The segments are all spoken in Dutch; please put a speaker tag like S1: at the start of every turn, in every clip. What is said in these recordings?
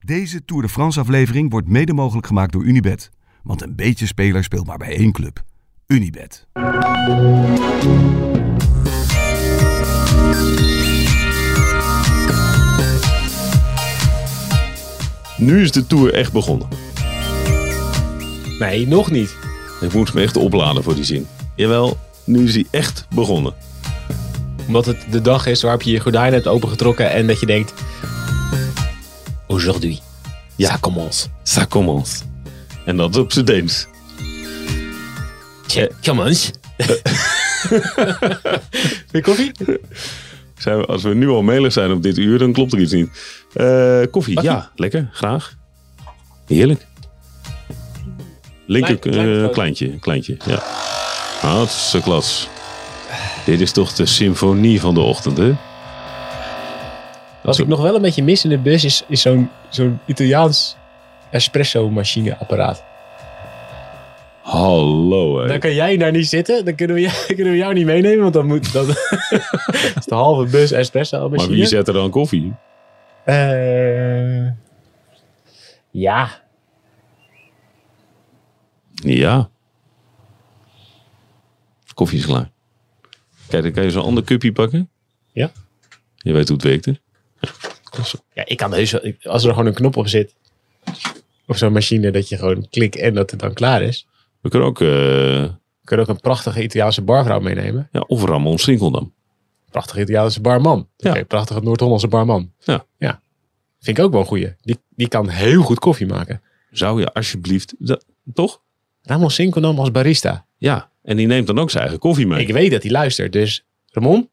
S1: Deze Tour de France aflevering wordt mede mogelijk gemaakt door Unibet. Want een beetje speler speelt maar bij één club. Unibet.
S2: Nu is de tour echt begonnen.
S3: Nee, nog niet.
S2: Ik moet me echt opladen voor die zin. Jawel, nu is hij echt begonnen.
S3: Omdat het de dag is waarop je je gordijn hebt opengetrokken en dat je denkt... Aujourd'hui, ja. ça commence.
S2: Ça commence. En dat op z'n Deens.
S3: Tje, commence. Weer koffie?
S2: Zijn we, als we nu al melig zijn op dit uur, dan klopt er iets niet. Eh, koffie, ja, lekker, graag. Heerlijk. Linker
S3: Klein- kleine
S2: eh,
S3: grote.
S2: kleintje, kleintje, ja. Hartstikke klas. Dit is toch de symfonie van de ochtend, hè?
S3: Wat ik nog wel een beetje mis in de bus is, is zo'n zo'n Italiaans espresso machine apparaat.
S2: Hallo, hè.
S3: Dan kan jij daar niet zitten, dan kunnen we, jou- kunnen we jou niet meenemen, want dan moet... Dan, dat is de halve bus espresso machine.
S2: Maar wie zet er dan koffie?
S3: Eh, ja,
S2: Ja. Koffie is klaar. Kijk, dan kan je zo'n ander cupje pakken.
S3: Ja.
S2: Je weet hoe het werkt, hè? Ja, zo.
S3: Ja, ik kan heus wel. ik- Als er gewoon een knop op zit. Of zo'n machine dat je gewoon klikt en dat het dan klaar is.
S2: We kunnen ook... eh,
S3: We kunnen ook een prachtige Italiaanse barvrouw meenemen.
S2: ja, of Ramon Sinkeldam.
S3: Prachtige Italiaanse barman.
S2: Ja.
S3: Ja. prachtige Noord-Hollandse barman.
S2: Ja.
S3: ja. Vind ik ook wel een goeie. Die, die kan heel goed koffie maken.
S2: Zou je alsjeblieft... dat- toch?
S3: Ramon Sinkeldam als barista.
S2: Ja. En die neemt dan ook zijn eigen koffie mee.
S3: Ik weet dat hij luistert, dus Ramon?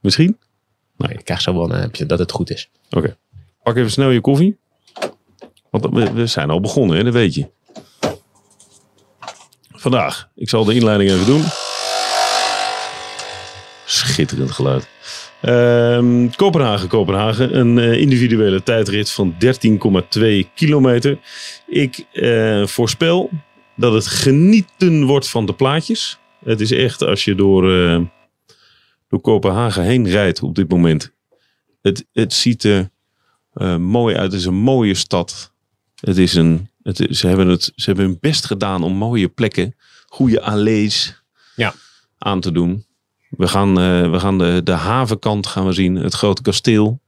S2: Misschien?
S3: Nee, ik krijg zo wel een appje dat het goed is.
S2: Oké. Pak even snel je koffie. Want we, we zijn al begonnen, hè? dat weet je. Vandaag. Ik zal de inleiding even doen. Schitterend geluid. Ehm, Kopenhagen, Kopenhagen. Een eh, individuele tijdrit van 13,2 kilometer. Ik eh, voorspel dat het genieten wordt van de plaatjes. Het is echt als je door, eh, door Kopenhagen heen rijdt op dit moment het, het ziet er eh, mooi uit. Het is een mooie stad. Het is een, het is- ze, hebben het, ze hebben hun best gedaan om mooie plekken, goede allees
S3: Ja.
S2: aan te doen. We gaan, eh, we gaan de, de havenkant gaan we zien, het grote kasteel.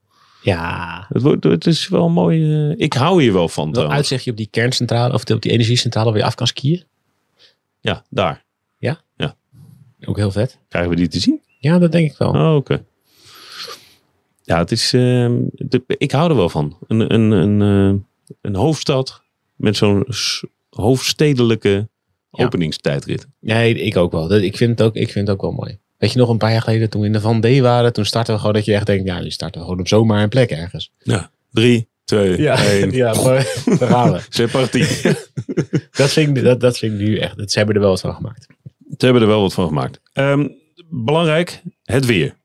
S3: Ja.
S2: Het, wordt, het is wel mooi. eh, ik hou hier wel van.
S3: Wel
S2: trouwens.
S3: uitzicht je op die kerncentrale of op die energiecentrale waar je af kan skiën.
S2: Ja, daar.
S3: Ook heel vet.
S2: Krijgen we die te zien?
S3: Ja, dat denk ik wel.
S2: Oh, oké. Ja, het is. ehm, de- ik hou er wel van. Een, een, een, eh, een hoofdstad met zo'n s- hoofdstedelijke
S3: Ja.
S2: openingstijdrit.
S3: Nee, ik ook wel. Dat- Ik vind, het ook, ik vind het ook wel mooi. Weet je nog, een paar jaar geleden toen we in de Van D waren, toen startten we gewoon dat je echt denkt, ja, nu starten we gewoon op zomaar een plek ergens.
S2: Drie, twee, één.
S3: ja maar, daar gaan we.
S2: C'est parti. Ze
S3: Dat vind, ik, dat, dat vind ik nu echt, dat- ze hebben er wel wat van gemaakt.
S2: hebben er wel wat van gemaakt. Ehm, belangrijk, het weer.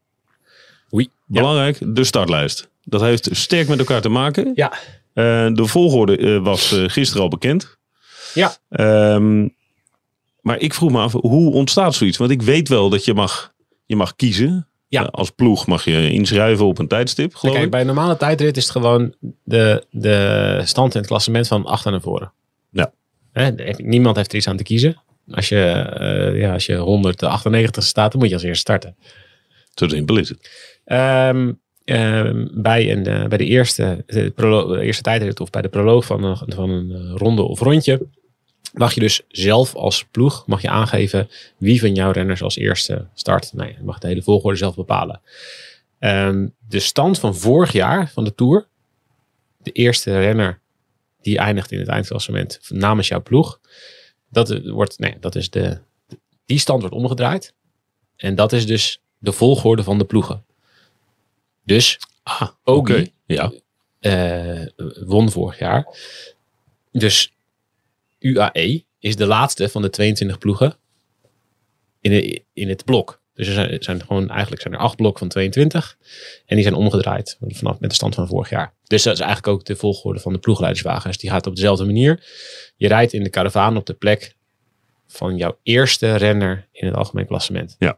S3: Oei.
S2: Belangrijk, de startlijst. Dat heeft sterk met elkaar te maken.
S3: Ja.
S2: Eh, de volgorde eh, was eh, gisteren al bekend.
S3: Ja.
S2: Ehm, maar ik vroeg me af, hoe ontstaat zoiets? Want ik weet wel dat je mag, je mag kiezen.
S3: Ja.
S2: Eh, als ploeg mag je inschrijven op een tijdstip, geloof
S3: Kijk,
S2: ik.
S3: bij een normale tijdrit is het gewoon de, de stand in het klassement van achter naar voren.
S2: Ja.
S3: Hè, er heeft- niemand heeft er iets aan te kiezen. Als je, eh ja, als je 198 staat, dan moet je als eerste starten.
S2: Zo simpel is het.
S3: Ehm, ehm, bij, een, eh, bij de eerste, de prolo- de eerste tijdrit of bij de proloog van een, van een eh, ronde of rondje, mag je dus zelf als ploeg mag je aangeven wie van jouw renners als eerste start. Nee, je mag de hele volgorde zelf bepalen. Ehm, de stand van vorig jaar van de Tour, de eerste renner die eindigt in het eindklassement namens jouw ploeg, dat, eh, wordt, nee, dat is de, die stand wordt omgedraaid. En dat is dus de volgorde van de ploegen. Dus
S2: Ah,
S3: Ogi
S2: Ja.
S3: eh, won vorig jaar. Dus UAE is de laatste van de 22 ploegen in, de- in het blok. Dus er zijn, zijn gewoon, eigenlijk zijn er acht blokken van 22. En die zijn omgedraaid vanaf met de stand van vorig jaar. Dus dat is eigenlijk ook de volgorde van de ploegleiderswagens. Die gaat op dezelfde manier. Je rijdt in de karavaan op de plek van jouw eerste renner in het algemeen klassement.
S2: Ja.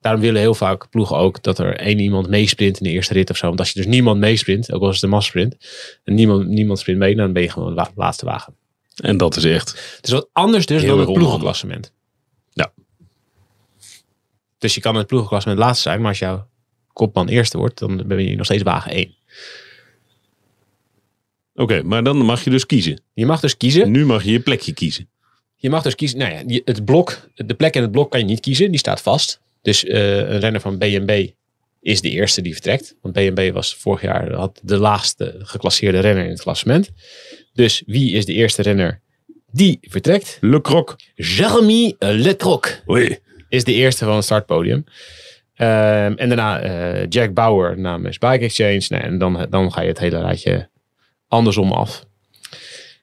S3: Daarom willen heel vaak ploegen ook dat er één iemand meesprint in de eerste rit of zo. Want als je dus niemand meesprint, ook al is het een massasprint, en niemand, niemand sprint mee, dan ben je gewoon la- laatste wagen.
S2: En dat is echt.
S3: Het is wat anders dus
S2: Heel
S3: dan
S2: erg
S3: het
S2: onhandig.
S3: ploegenklassement.
S2: Ja.
S3: Dus je kan in het ploegenklassement laatste zijn, maar als jouw kopman eerste wordt, dan ben je nog steeds wagen één.
S2: Oké, maar dan mag je dus kiezen.
S3: Je mag dus kiezen.
S2: Nu mag je je plekje kiezen.
S3: Je mag dus kiezen. Nou ja, je- het blok, de plek in het blok kan je niet kiezen. Die staat vast. Dus eh, een renner van BNB is de eerste die vertrekt. Want BNB was vorig jaar had de laagste geclasseerde renner in het klassement. Dus wie is de eerste renner die vertrekt?
S2: Le Croc.
S3: Jeremy Letroc
S2: Oei.
S3: is de eerste van het startpodium. Ehm, en daarna eh, Jack Bauer namens Bike Exchange. Nou, en dan, dan ga je het hele rijtje andersom af.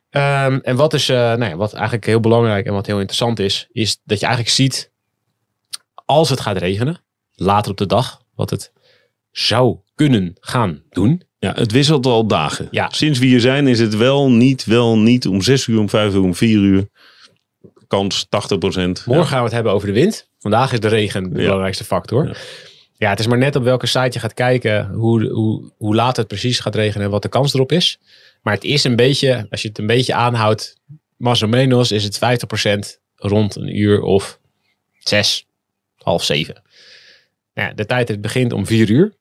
S3: Ehm, en wat, is, eh, nou ja, wat eigenlijk heel belangrijk en wat heel interessant is, is dat je eigenlijk ziet als het gaat regenen, later op de dag, wat het zou kunnen gaan doen.
S2: Ja, het wisselt al dagen.
S3: Ja.
S2: Sinds we hier zijn is het wel niet, wel niet. Om 6 uur, om 5 uur, om 4 uur. Kans 80 procent.
S3: Morgen gaan we het hebben over de wind. Vandaag is de regen de
S2: Ja.
S3: belangrijkste factor.
S2: Ja.
S3: Ja. het is maar net op welke site je gaat kijken hoe, hoe, hoe laat het precies gaat regenen en wat de kans erop is. Maar het is een beetje, als je het een beetje aanhoudt, más o menos is het 50% rond een uur of zes, half zeven. Nou ja, de tijd begint om vier uur.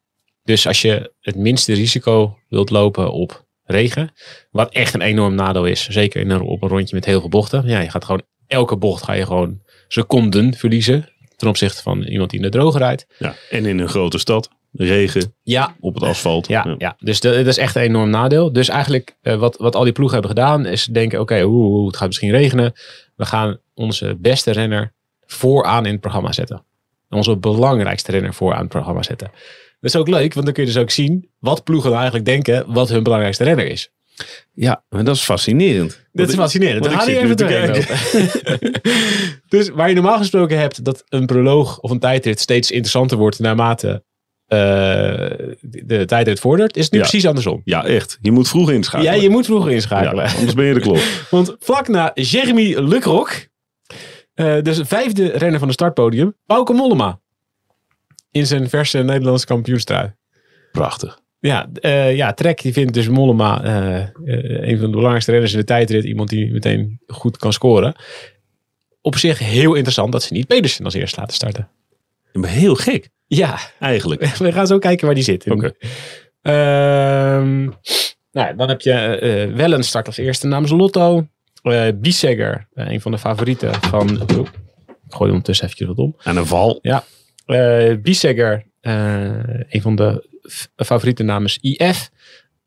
S3: Dus als je het minste risico wilt lopen op regen, wat echt een enorm nadeel is, zeker in een, op een rondje met heel veel bochten. Ja, je gaat gewoon elke bocht ga je gewoon seconden verliezen ten opzichte van iemand die in de droge rijdt.
S2: Ja. En in een grote stad. Regen
S3: Ja,
S2: op het asfalt.
S3: ja, ja. dus de- dat is echt een enorm nadeel. Dus eigenlijk eh, wat, wat al die ploegen hebben gedaan is denken, oké, oeh, oeh, het gaat misschien regenen. We gaan onze beste renner vooraan in het programma zetten. Onze belangrijkste renner vooraan het programma zetten. Dat is ook leuk, want dan kun je dus ook zien wat ploegen nou eigenlijk denken wat hun belangrijkste renner is.
S2: Ja, maar dat is fascinerend.
S3: Dit is fascinerend.
S2: want
S3: Daar
S2: ik
S3: gaan we
S2: zit nu te
S3: even doorheen lopen. dus waar je normaal gesproken hebt dat een proloog of een tijdrit steeds interessanter wordt naarmate eh, de, de tijdrit vordert, is het nu
S2: Ja.
S3: precies andersom.
S2: Ja, echt. Je moet vroeg
S3: Ja,
S2: inschakelen.
S3: je moet vroeger inschakelen.
S2: Ja, anders ben je de klok.
S3: Want vlak na Jeremy Lucrock, eh dus vijfde renner van de startpodium, Bauke Mollema. In zijn verse Nederlandse kampioenstrui.
S2: Prachtig.
S3: Ja, eh, ja, Trek die vindt dus Mollema eh, eh, een van de belangrijkste renners in de tijdrit. Iemand die meteen goed kan scoren. Op zich heel interessant dat ze niet Pedersen als eerste laten starten.
S2: Maar Heel gek,
S3: Ja,
S2: eigenlijk.
S3: we gaan zo kijken waar die zit.
S2: Oké.
S3: Ehm, nou, ja, dan heb je eh wel een start als eerste namens Lotto. Eh Biesegger, eh, een van de favorieten van... Oeh, ik gooi ondertussen eventjes wat om.
S2: Aan een val.
S3: Eh Biesegger, eh, een van de f- favorieten namens IF,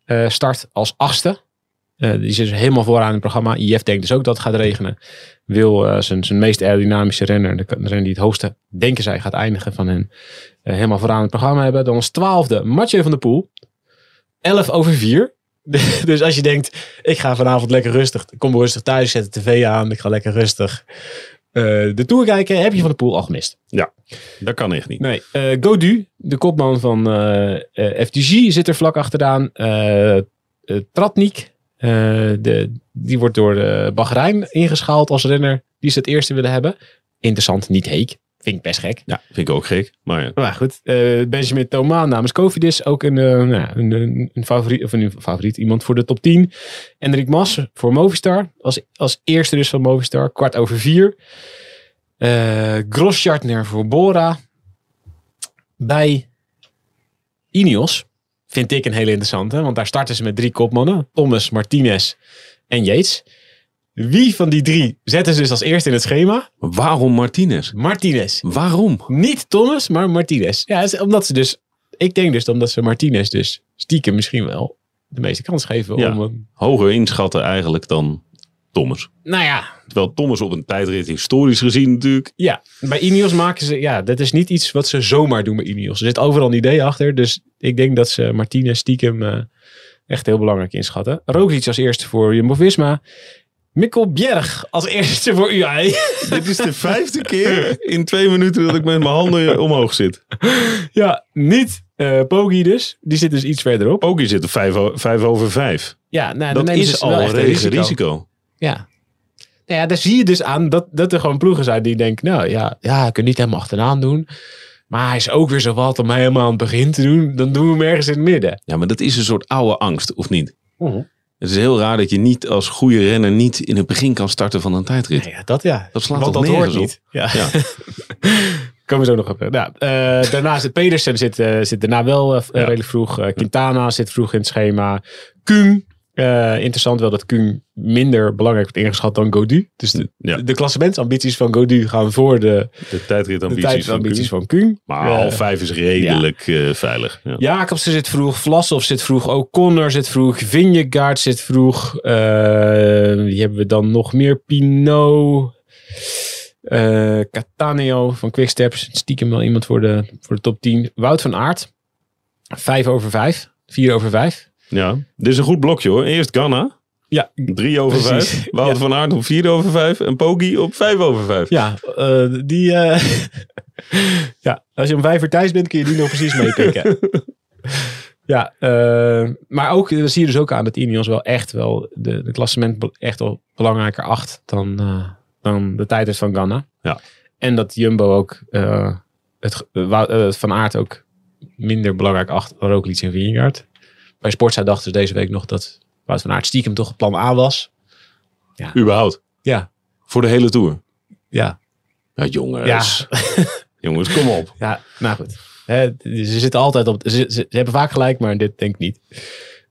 S3: eh, start als achtste. Eh, die zit dus helemaal vooraan in het programma. IF denkt dus ook dat het gaat regenen. Wil eh, zijn, zijn meest aerodynamische renner, de, de renner die het hoogste denken zij gaat eindigen van hen, eh, helemaal vooraan in het programma hebben. Dan als twaalfde Mathieu van der Poel. 11 over 4. Dus als je denkt, ik ga vanavond lekker rustig, ik kom rustig thuis, ik zet de tv aan, ik ga lekker rustig eh, de tour kijken, heb je van de Poel al gemist.
S2: Dat kan echt niet.
S3: Nee, eh, Godu, de kopman van eh, eh, FDG, zit er vlak achteraan. Eh, eh, Tratnik, eh, de, die wordt door eh, Bahrein ingeschaald als renner die ze het eerste willen hebben. Interessant, niet heek. Vind ik best gek.
S2: Ja, vind ik ook gek. Maar ja.
S3: Maar goed, eh, Benjamin Thomas namens Cofidis. Ook een, eh, nou ja, een, een, een favoriet, of een favoriet, iemand voor de top 10. Enrik Mas voor Movistar. Als, als eerste dus van Movistar. Kwart over vier. Eh Groschartner voor Bora. Bij Ineos vind ik een hele interessante. Want daar starten ze met drie kopmannen. Thomas, Martinez en Yates. Wie van die drie zetten ze dus als eerste in het schema?
S2: Maar Waarom Martinez?
S3: Martinez.
S2: Waarom?
S3: Niet Thomas, maar Martinez. Ja, is- omdat ze dus... Ik denk dus omdat ze Martinez dus stiekem misschien wel de meeste kans geven
S2: Ja.
S3: om... een-
S2: Hoger inschatten eigenlijk dan Thomas.
S3: nou ja,
S2: Terwijl Thomas op een tijdrit historisch gezien natuurlijk.
S3: ja, bij Ineos maken ze... Ja, dat is niet iets wat ze zomaar doen bij Ineos. Er zit overal een idee achter. Dus ik denk dat ze Martinez stiekem eh, echt heel belangrijk inschatten. Roglic als eerste voor Jumbo-Visma. Mikkel Bjerg als eerste voor UAE.
S2: Dit is de vijfde keer in twee minuten dat ik met mijn handen omhoog zit.
S3: ja, niet eh Poggi dus. Die zit dus iets verderop.
S2: Ook hier zit er vijf, o- vijf over vijf.
S3: Ja, nou, dan
S2: dat
S3: nemen ze
S2: is
S3: wel
S2: al
S3: echt een
S2: regen risico.
S3: Ja. Nou ja, daar zie je dus aan dat, dat er gewoon ploegen zijn die denken, nou ja, ja, ik kan niet helemaal achteraan doen. Maar hij is ook weer zo wat om helemaal aan het begin te doen. Dan doen we hem ergens in het midden.
S2: Ja, maar dat is een soort oude angst, of niet?
S3: Mhm.
S2: Het is heel raar dat je niet als goede renner niet in het begin kan starten van een tijdrit.
S3: Nou Ja, ja, dat ja.
S2: Dat slaat
S3: Want
S2: toch
S3: dat hoort
S2: nergens op?
S3: niet. Ja.
S2: Ja.
S3: Komen we zo nog op. Ja, eh, daarnaast, Pedersen zit, eh, zit daarna wel eh,
S2: Ja.
S3: redelijk vroeg. Eh, Quintana zit vroeg in het schema. Kuhn. eh, interessant wel dat Kuhn minder belangrijk wordt ingeschat dan Godu. Dus de,
S2: Ja.
S3: de klassementsambities van Godu gaan voor de,
S2: De
S3: de
S2: tijdritambities van
S3: tijdambities
S2: Kuhn.
S3: van Kuhn.
S2: Maar
S3: Eh,
S2: al vijf is redelijk eh, veilig. Ja.
S3: Jacobsen zit vroeg, Vlasov zit vroeg, O'Connor zit vroeg, Vingegaard zit vroeg. Eh wie hebben we dan nog meer? Pinot, eh Cataneo van Quicksteps. Stiekem wel iemand voor de, voor de top 10. Wout van Aert, 5 over 5, 4 over 5.
S2: Ja. Dit is een goed blokje hoor. Eerst Ghana.
S3: Ja.
S2: Drie over
S3: Precies.
S2: vijf. Wout
S3: Ja.
S2: van Aert op vier over vijf. En Poggi op vijf over vijf.
S3: Ja, eh, die. eh, ja, als je om vijf uur thuis bent, kun je die nog precies meepikken. ja, eh, maar ook, eh, dat zie je dus ook aan dat Ineos wel echt wel de, de klassement be- echt wel belangrijker acht dan, eh, dan de tijdrit van Ghana.
S2: Ja.
S3: En dat Jumbo ook eh, het, ge- eh, Wou- eh, van aard ook minder belangrijk acht dan Roglic en Vingegaard. Bij Sportza dachten ze deze week nog dat Wout van Aert stiekem toch plan A was.
S2: Überhaupt.
S3: Ja,
S2: Voor de hele Tour.
S3: ja,
S2: Nou jongens. jongens, kom op.
S3: Ja, nou goed. Hè, ze zitten altijd op. Ze, ze, ze hebben vaak gelijk, maar dit denk ik niet.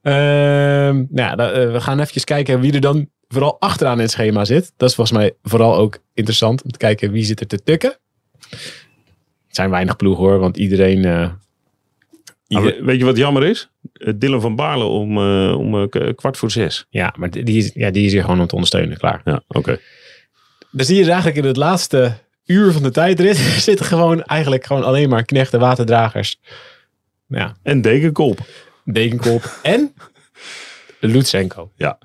S3: Ehm, nou, ja, da- eh, we gaan even kijken wie er dan vooral achteraan in het schema zit. Dat is volgens mij vooral ook interessant om te kijken wie zit er te tukken. Het zijn weinig ploegen hoor, want iedereen. eh,
S2: Maar
S3: ieder-
S2: we- weet je wat jammer is? Eh, Dylan van Baarle om, eh, om eh, k- kwart voor zes.
S3: ja, maar die is, ja, die is hier gewoon om te ondersteunen, klaar.
S2: Ja, oké.
S3: Dan zie je dus eigenlijk in het laatste uur van de tijdrit zitten gewoon eigenlijk gewoon alleen maar knechten, waterdragers. Nou ja,
S2: En Dekenkop.
S3: Dekenkop en Lutsenko.
S2: Ja.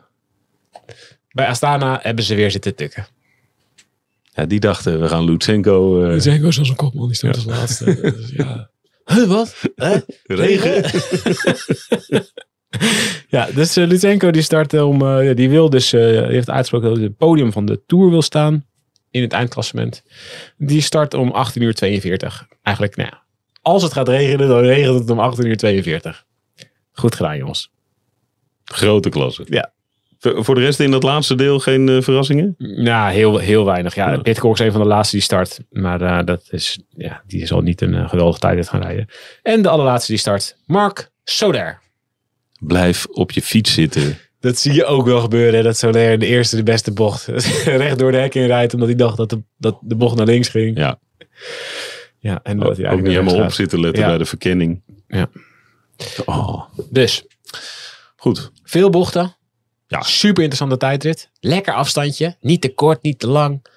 S3: Bij Astana hebben ze weer zitten tukken.
S2: Ja, die dachten, we gaan Lutsenko... eh,
S3: Lutsenko is als een kopman, die stond als laatste. Dus ja. Huh, wat? Huh?
S2: regen.
S3: Ja, dus eh, Lutsenko die start om, eh, ja, die wil dus, eh, die heeft uitgesproken dat hij op het podium van de Tour wil staan in het eindklassement. Die start om 18 uur 42. Eigenlijk, nou ja, als het gaat regenen, dan regent het om 18 uur 42. Goed gedaan, jongens.
S2: Grote klasse.
S3: Ja.
S2: Voor voor de rest in dat laatste deel geen eh, verrassingen?
S3: Nou, heel, heel weinig. Ja,
S2: Ja.
S3: Pitcock is een van de laatste die start. Maar eh, dat is, ja, die zal niet een eh, geweldige tijd gaan rijden. En de allerlaatste die start, Mark Soder.
S2: Blijf op je fiets zitten.
S3: Dat zie je ook wel gebeuren, hè, dat Soler de eerste de beste bocht recht door de hek in rijdt. Omdat hij dacht dat de, dat de bocht naar links ging. Oh,
S2: Ja.
S3: Ja, en dat
S2: Ook
S3: hij
S2: niet
S3: eigenlijk naar
S2: helemaal op
S3: rechts
S2: zitten letten
S3: Ja.
S2: bij de verkenning.
S3: Ja.
S2: Oh.
S3: gaat. Dus,
S2: Goed.
S3: veel bochten.
S2: Ja.
S3: Super interessante tijdrit. Lekker afstandje. Niet te kort, niet te lang.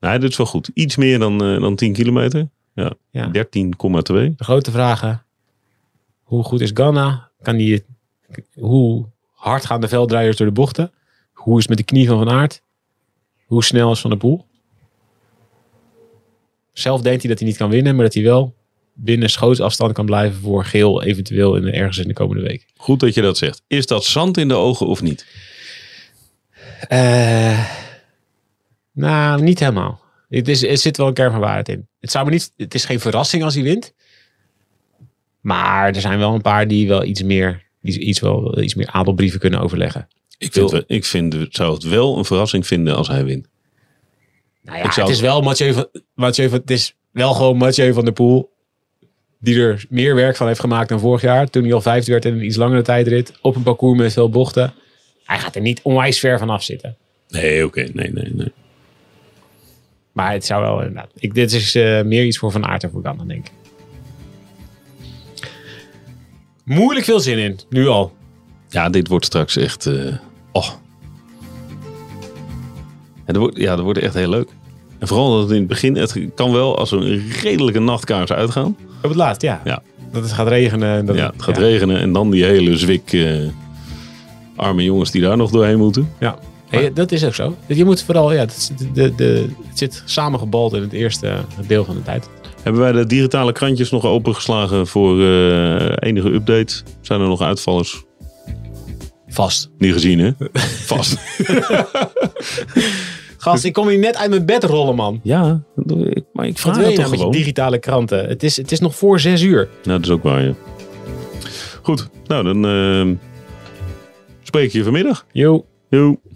S2: Nee, dit is wel goed. Iets meer dan, eh, dan 10 kilometer. Ja.
S3: Ja.
S2: 13,2.
S3: De grote vragen. Hoe goed is Ghana? Kan die, het- hoe hard gaan de veldrijders door de bochten? Hoe is het met de knie van Van Aert? Hoe snel is Van der Poel? Zelf denkt hij dat hij niet kan winnen, maar dat hij wel binnen schootsafstand kan blijven voor geel eventueel in, ergens in de komende week.
S2: Goed dat je dat zegt. Is dat zand in de ogen of niet?
S3: Eh, nou, niet helemaal. Het is, er zit wel een kern van waarheid in. Het, zou me niet, het is geen verrassing als hij wint. Maar er zijn wel een paar die wel iets meer, die iets wel, iets meer adelbrieven kunnen overleggen.
S2: Ik, vind, wel- ik vind, het- zou het wel een verrassing vinden als hij wint.
S3: Nou ja,
S2: Ik zou-
S3: het is wel Mathieu van, Mathieu van, het is wel gewoon Mathieu van der Poel. Die er meer werk van heeft gemaakt dan vorig jaar. Toen hij al vijfde werd in een iets langere tijdrit. Op een parcours met veel bochten. Hij gaat er niet onwijs ver van af zitten.
S2: Nee, oké. Nee, nee, nee.
S3: Maar het zou wel inderdaad. Ik, dit is eh, meer iets voor Van Aert en voor Ganna, denk ik. Moeilijk veel zin in, nu al.
S2: Ja, dit wordt straks echt... eh, oh. Het wordt, ja, dat wordt echt heel leuk. En vooral dat het in het begin... Het kan wel als een redelijke nachtkaars uitgaan.
S3: Op het laatst, ja.
S2: Ja.
S3: Dat het gaat regenen. En dat
S2: Ja, het gaat regenen en dan die hele zwik eh, arme jongens die daar nog doorheen moeten.
S3: Ja, Hey, dat is ook zo. Je moet vooral, ja, het, is- de, de, de, het zit samengebald in het eerste eh, deel van de tijd.
S2: Hebben wij de digitale krantjes nog opengeslagen voor eh, enige update? Zijn er nog uitvallers?
S3: Vast.
S2: Niet gezien, hè? Vast.
S3: Gast, ik kom hier net uit mijn bed rollen, man.
S2: Ja, ik- maar ik
S3: Wat
S2: vraag
S3: wil
S2: het toch
S3: je nou met je
S2: gewoon.
S3: digitale kranten? Het is, het is nog voor zes uur.
S2: Nou, dat is ook waar, ja. Goed, nou dan ehm, eh, spreek ik je vanmiddag.
S3: Yo.
S2: Doei.